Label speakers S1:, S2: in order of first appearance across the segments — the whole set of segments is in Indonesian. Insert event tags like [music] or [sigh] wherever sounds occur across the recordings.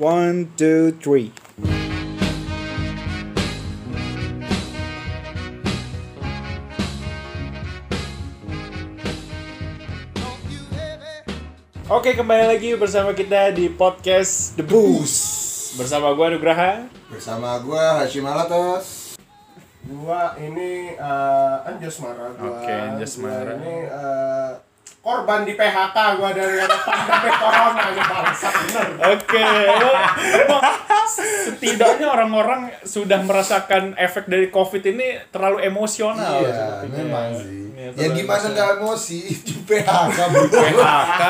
S1: One, two, three. Oke, kembali lagi bersama kita di podcast The Boost. Bersama gua Nugraha.
S2: Bersama gua Hashim Alatas. Gua ini uh, Anjas Mara gua.
S1: Oke, Anjas
S2: Gua
S1: Mara.
S2: Ini uh, korban di PHK gua dari ada [laughs] pandemi corona ya bangsa bener.
S3: Iya.
S1: Oke. Setidaknya orang-orang sudah merasakan efek dari Covid ini terlalu emosional.
S2: Iya,
S1: sepertinya.
S2: memang sih.
S1: Iya,
S2: ya
S1: terlalu
S2: gimana
S1: emosional.
S2: nggak emosi [laughs] di PHK bro.
S1: PHK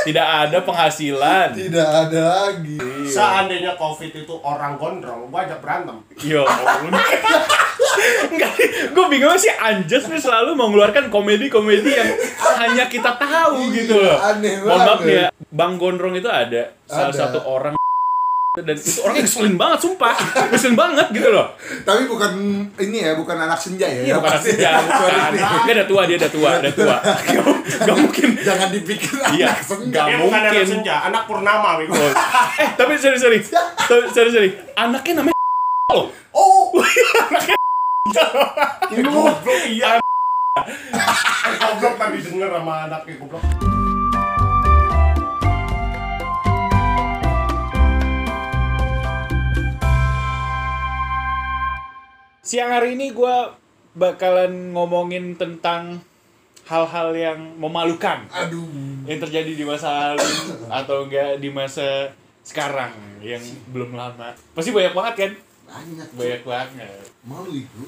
S1: tidak ada penghasilan
S2: Tidak ada lagi.
S1: Iya.
S3: Seandainya COVID itu orang gondrong, gua ajak berantem.
S1: yo Ya Enggak, gue bingung sih Anjas nih selalu mengeluarkan komedi-komedi yang hanya kita tahu
S2: Iya,
S1: gitu loh.
S2: aneh
S1: Mohon maaf
S2: banget.
S1: nih ya, Bang Gondrong itu ada salah
S2: Ada.
S1: satu orang dan itu orang yang ngeselin banget sumpah, ngeselin banget gitu loh.
S2: Tapi bukan ini ya, bukan anak senja ya.
S1: Iya,
S2: ya,
S1: bukan
S2: pasti.
S1: senja, bukan. Dia udah tua, dia udah tua, udah tua. Gak mungkin.
S2: [laughs] Jangan dipikir
S1: Iya,
S2: anak senja.
S1: nggak
S3: Dia bukan anak
S1: mungkin.
S3: senja, anak purnama Wiko.
S1: Eh, tapi sorry sorry. Tapi sorry sorry. Anaknya namanya loh.
S2: Oh,
S3: Ini goblok iya. [laughs] Eh, goblok tadi denger sama anaknya goblok.
S1: Siang hari ini gue bakalan ngomongin tentang hal-hal yang memalukan
S2: aduh.
S1: yang terjadi di masa lalu atau enggak di masa sekarang yang belum lama. Pasti banyak banget kan?
S2: Banyak.
S1: Banyak banget.
S2: Malu ibu.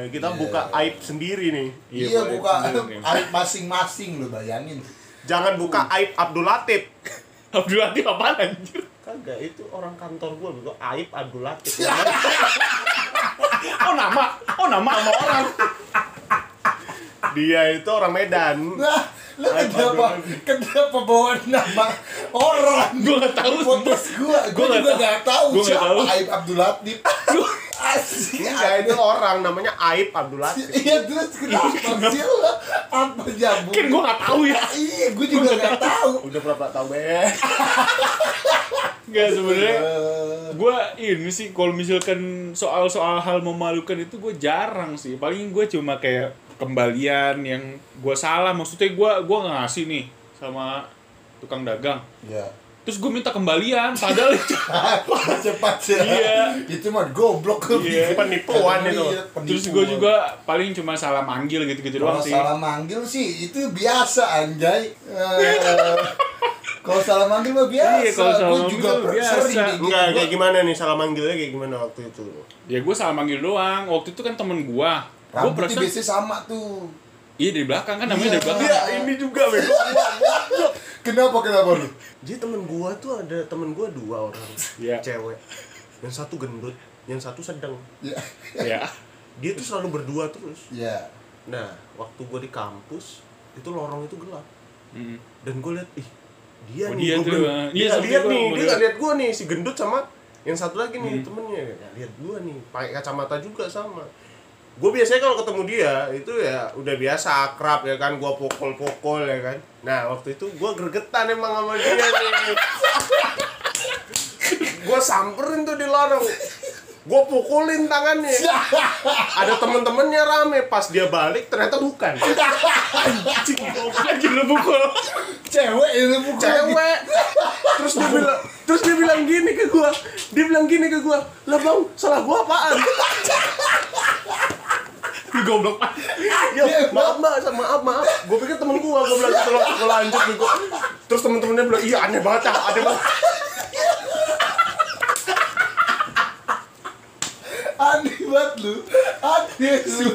S3: Eh, Kita buka aib sendiri nih.
S2: Iya,
S1: banyak
S2: buka
S1: banget.
S2: aib masing-masing lo bayangin.
S3: Jangan buka aib Abdul Latif.
S1: Abdul Latif apaan anjir?
S3: Kagak, itu orang kantor gua Wiko. Aib Abdul Latif.
S1: Iya, Oh nama, oh nama sama orang.
S3: [laughs] Dia itu orang Medan.
S2: Lah, lu
S3: Ayo,
S2: kenapa
S3: Pak Dolan.
S2: kenapa bawa nama orang?
S1: [laughs] Gua nggak tahu.
S2: Podcast gua, gua
S1: Gua nggak
S2: juga
S1: tahu.
S2: nggak tahu
S1: Gua nggak
S2: siapa
S1: tahu. Iya,
S2: Aib Abdul Latif. Asik.
S3: Enggak, itu orang namanya Aib Abdul Latif. [laughs]
S2: Iya terus kenapa sih lo? Apa jamu?
S1: Kan gue nggak tahu ya.
S2: Iya, gua juga nggak tahu.
S3: Udah berapa tahun be?
S1: Enggak sebenarnya
S2: Eh,
S1: gue ini sih kalau misalkan soal-soal hal memalukan itu gue jarang sih paling gue cuma kayak kembalian yang gue salah maksudnya gue gua nggak ngasih nih sama tukang dagang
S2: Ya.
S1: terus gue minta kembalian padahal
S2: [laughs] Cepat sih.
S1: Iya.
S2: Itu mah goblok
S1: Iya.
S3: Penipuan itu.
S2: Iya, penipuan.
S1: terus gue juga paling cuma salah manggil gitu-gitu doang
S2: Kalau
S1: sih
S2: salah manggil sih itu biasa anjay. Eh, kalau salah manggil mah biasa.
S1: Iya, kalau salah
S2: Gua
S1: manggil
S2: juga
S1: mah
S2: per-
S1: biasa.
S2: sering kayak gitu.
S3: Enggak,
S2: Gua
S3: kayak gimana nih salah manggilnya kayak gimana waktu itu?
S1: ya gue salah manggil doang waktu itu kan temen gue gue
S2: Rambutnya
S1: perasaan
S2: biasanya sama tuh. [laughs]
S1: iya dari belakang kan namanya dari
S2: Iya.
S1: belakang
S2: Iya.
S3: ini juga Wiko.
S2: Kenapa kenapa lu?
S3: Jadi temen gua tuh ada temen gua dua orang
S1: Iya.
S3: cewek. Yang satu gendut, yang satu sedang.
S2: Ya.
S1: ya
S3: Dia tuh selalu berdua terus.
S2: Ya. [laughs]
S3: Nah, waktu gua di kampus itu lorong itu gelap
S2: [laughs]
S1: Mm.
S3: dan gua lihat ih dia
S1: Oh,
S3: nih
S1: dia
S3: gua
S1: tuh,
S3: belum-
S1: ah. Iya,
S3: dia nggak
S1: sama
S3: lihat
S1: gua, Hmm. sama
S3: nih dia
S1: dia.
S3: nggak lihat gua nih si gendut sama yang satu lagi nih temennya nggak lihat gua nih pakai kacamata juga sama gue biasanya kalau ketemu dia itu ya udah biasa akrab ya kan gua pokol-pokol ya kan nah waktu itu gua gregetan emang sama dia nih gue samperin tuh di lorong gue pukulin tangannya ada temen-temennya rame pas dia balik ternyata bukan Anjing, goblok.
S1: lagi lu pukul
S2: Cewek itu bukan.
S3: cewek terus dia bilang terus dia bilang gini ke gua dia bilang gini ke gua lah bang salah gua apaan
S1: lu goblok banget.
S3: ya maaf mbak sa- maaf maaf gua pikir temen gua gua bilang gitu loh gua lanjut nih gua terus temen-temennya bilang iya aneh banget ah aneh banget
S2: Aneh banget lu. Aneh lu.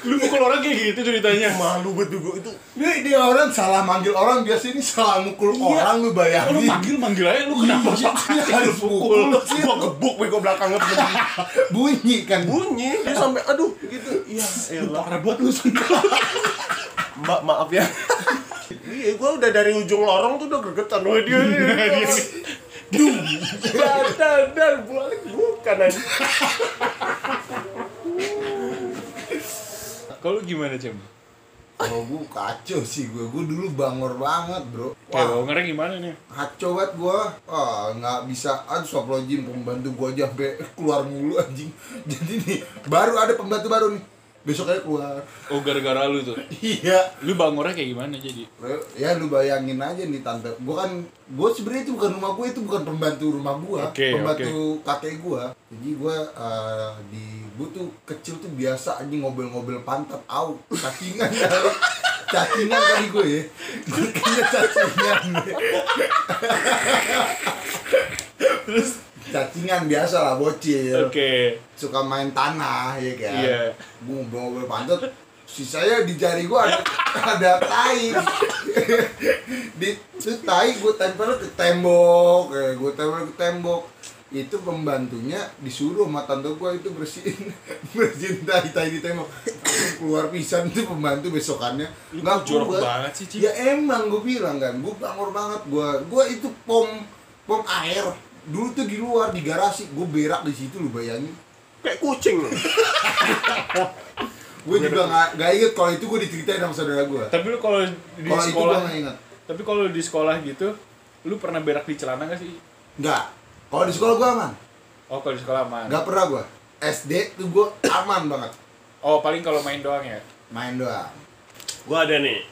S1: lu pukul orang kayak gitu ceritanya
S2: Iya.
S3: malu banget gua itu
S2: Ini dia orang salah manggil orang biasa ini salah mukul orang
S1: Oh, lu
S2: lu bayangin.
S1: manggil manggil aja lu kenapa
S2: Iya, iya, harus pukul.
S3: gua gebuk weh gua belakang gebuk
S2: Bunyi kan.
S3: bunyi dia sampai aduh gitu iya elah
S1: parah buat lu
S3: mbak maaf ya iya gua udah dari ujung lorong tuh udah gergetan wah dia dia dum dan dan balik bukan aja
S1: kalau gimana cem
S2: Iya. Kalau gue kacau sih gue, gue dulu bangor banget bro
S1: Wah, bawang gimana nih?
S2: Kacau banget gua. Ah, nggak bisa. Aduh, astagfirullahaladzim, pembantu gua aja sampai keluar mulu anjing. [laughs] Jadi nih, baru ada pembantu baru nih. Besoknya keluar. [laughs]
S1: Oh, gara-gara lu tuh.
S2: Iya.
S1: Lu bangornya kayak gimana jadi?
S2: Lu- Ya lu bayangin aja nih tante. Gua kan gua sebenarnya itu bukan rumah gua, itu bukan pembantu rumah gua,
S1: Oke,
S2: pembantu kakek gua. Jadi gua eh, di gua tuh kecil tuh biasa anjing ngobel-ngobel pantat au, cacingan
S1: [laughs]
S2: kali. Cacingan kali gue ya. Gua kena cacingan.
S1: Terus
S2: Cacingan biasa lah bocil.
S1: oke.
S2: suka main tanah ya kan
S1: Iya.
S2: gue ngobrol pantat sisanya di jari gue ada [laughs] ada tai [laughs] di itu tai gue tempel ke tembok kayak gue tempel ke tembok itu pembantunya disuruh sama tante gue itu bersihin [laughs] bersihin tai tai di tembok keluar pisan itu pembantu besokannya
S1: Lu kok
S2: Nggak,
S1: jorok
S2: gua-
S1: banget sih, Ci?
S2: ya emang gue bilang kan gue bangor banget gue gue itu pom pom air dulu tuh di luar di garasi gue berak di situ lu bayangin
S3: Kayak kucing lu.
S2: gue juga nggak nggak inget kalau itu gue diceritain sama saudara gue
S1: Tapi lu kalau di
S2: kalau itu
S1: sekolah
S2: gue nggak inget
S1: Tapi kalau di sekolah gitu, lu pernah berak di celana gak sih?
S2: nggak kalau di sekolah gue aman
S1: Oh, kalau di sekolah aman.
S2: nggak pernah gue SD tuh gue aman banget
S1: Oh, paling kalau main doang ya.
S2: main doang
S3: gua ada nih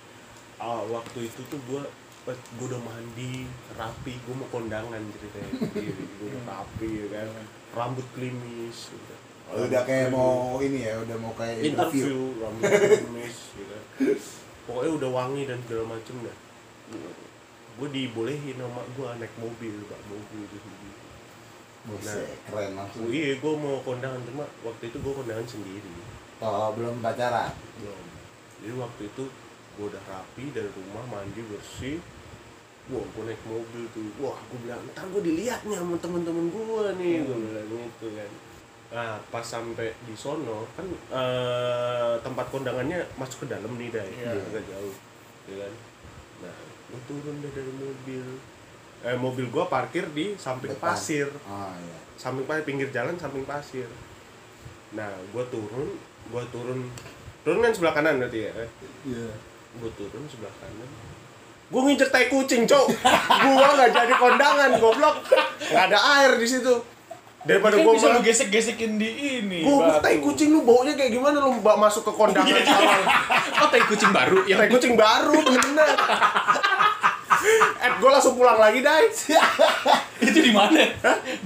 S3: ah waktu itu tuh gua gue udah mandi rapi gue mau kondangan ceritanya gue udah rapi ya kan rambut klimis gitu.
S2: Oh, udah kayak mau ini ya udah mau kayak interview
S3: interview rambut klimis gitu pokoknya udah wangi dan segala macem dah gue dibolehin sama gue naik mobil bak mobil gitu
S2: Buset, keren langsung
S3: oh, iya gue mau kondangan cuma waktu itu gue kondangan sendiri
S2: oh belum pacaran
S3: belum jadi waktu itu gue udah rapi dari rumah mandi bersih wah gue naik mobil tuh wah gue bilang ntar gue dilihat nih sama temen-temen gue nih gue
S2: Hmm.
S3: bilang gitu kan nah pas sampai di sono kan eh, tempat kondangannya masuk ke dalam nih dai
S2: Iya.
S3: Dia agak jauh ya kan nah gue turun deh dari mobil eh mobil gue parkir di samping
S2: Depan.
S3: pasir
S2: oh iya
S3: samping pasir pinggir jalan samping pasir nah gue turun gue turun turun kan sebelah kanan berarti ya
S2: iya
S3: gue turun sebelah kanan gue ngincer tai kucing cok gue nggak jadi kondangan goblok nggak ada air di situ daripada
S1: Kan
S3: gue
S1: bisa lu gesek-gesekin di ini.
S3: gue
S1: batu.
S3: tai kucing lu baunya kayak gimana lu mbak masuk ke kondangan orang.
S1: Iya, Oh, tai kucing baru yang
S3: tai kucing baru bener-bener Eh, gue langsung pulang lagi, Dai.
S1: Iya. itu di mana? Itu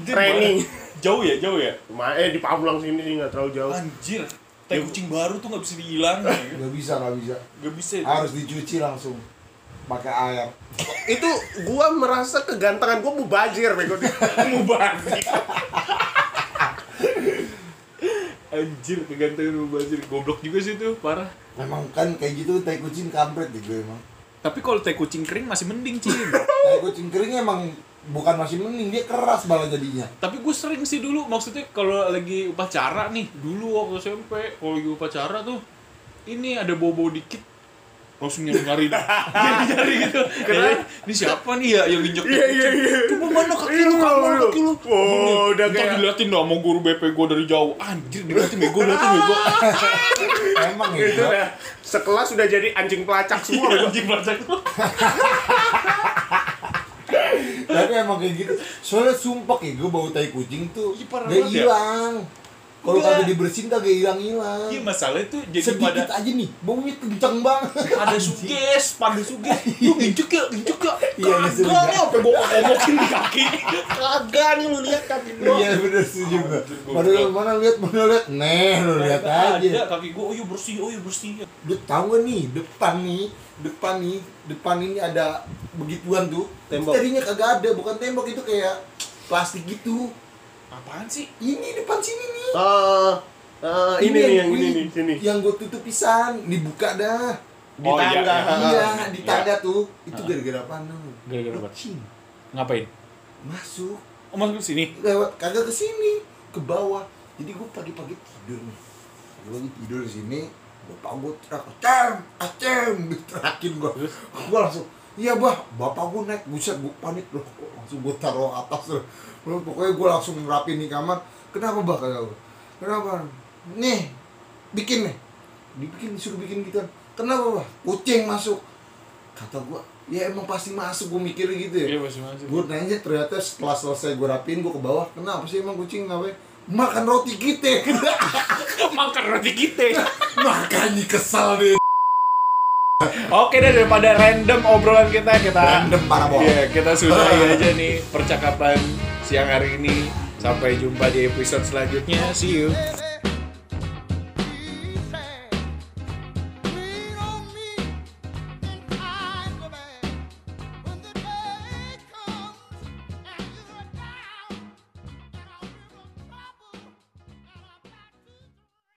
S1: di mana?
S3: Training.
S1: Jauh ya, jauh ya.
S3: Ma- Eh, di Pamulang sini sih, nggak terlalu jauh.
S1: Anjir, tai kucing baru tuh nggak bisa dihilangin.
S2: nggak bisa nggak bisa
S1: Gak bisa.
S2: harus dicuci langsung pakai air
S3: itu gua merasa kegantengan gua mubazir [laughs] bego mubazir
S1: Anjir, kegantengan lu anjir. Goblok juga sih tuh, parah.
S2: emang kan kayak gitu tai kucing kampret deh gue emang
S1: Tapi kalau tai kucing kering masih mending, [laughs] Cin.
S2: tai kucing kering emang bukan masih mending dia keras malah jadinya
S1: Tapi gue sering sih dulu, maksudnya kalau lagi upacara nih, dulu waktu SMP, kalau lagi upacara tuh, ini ada bobo dikit, langsung nyari-nyari
S3: [laughs]
S1: nyari-nyari gitu Kenapa? ini siapa nih ya yang injek
S3: Iya, iya, iya.
S1: coba mana kaki lu
S3: Iya,
S1: kamar
S3: lu.
S1: kaki lu
S3: Wow, udah
S1: Ntar
S3: kayak-
S1: diliatin dong sama guru BP gue dari jauh anjir diliatin bego diliatin ya,
S2: [laughs]
S1: bego
S2: emang
S3: itu
S2: ya
S3: gitu dah sekelas sudah jadi anjing pelacak semua bego.
S1: anjing belacak
S2: tapi emang kayak gitu soalnya sumpah kayak gue bau tai kucing tuh
S1: Ih, parah
S2: gak
S1: banget ya?
S2: hilang kalau
S1: Enggak.
S2: kagak dibersihin kagak hilang hilang
S1: iya masalahnya tuh jadi
S2: sedikit
S1: pada
S2: aja nih baunya kenceng banget
S1: ada suges, pada suges, lu injek ya, injek ya,
S2: Iya,
S1: kagak
S2: ngeselin
S1: nih, apa gue omokin di kaki, kagak nih lu lihat kaki gua. Ah,
S2: iya bener setuju gue
S1: Anjir, gua
S2: padahal mana lihat mana lihat neh lu lihat
S1: Kagak
S2: aja
S1: Ada kaki gua, oh iya bersih, oh iya bersih.
S2: lu tahu gak nih depan nih depan nih depan ini ada begituan tuh
S3: Tembok.
S2: tadinya kagak ada bukan tembok itu kayak plastik gitu
S1: Apaan sih?
S2: ini depan sini nih
S3: Eh, eh, ini nih yang ini
S2: gua-
S3: nih sini
S2: yang gue tutup pisan dibuka dah
S3: di
S1: Oh, iya,
S3: tangga
S1: iya.
S2: iya
S1: Ah,
S2: di tangga tuh itu gara-gara apa nu
S1: Gara-gara apa?
S2: Kucing
S1: Ngapain?
S2: masuk
S1: Oh masuk ke sini?
S2: lewat kagak ke sini ke bawah jadi gue pagi-pagi tidur nih gue tidur di sini bapak gue teriak acem acem [laughs] diterakin gue gue langsung iya bah bapak gue naik buset gue panik loh Gua langsung gue taruh atas loh Loh, pokoknya gue langsung ngerapin di kamar kenapa bah kagak gue kenapa nih bikin nih dibikin disuruh bikin gitu kenapa bah kucing masuk kata gua ya emang pasti masuk gue mikirnya gitu ya
S1: Iya masih masih.
S2: gue nanya ternyata setelah selesai gue rapiin gue ke bawah kenapa sih emang kucing ngapain makan roti kita [laughs]
S1: Makan roti kita.
S2: makanya kesel deh
S1: Oke deh daripada random obrolan kita kita.
S2: random parah bohong
S1: Iya kita
S2: [laughs]
S1: sudahi aja nih percakapan siang hari ini. Sampai jumpa di episode selanjutnya. See you.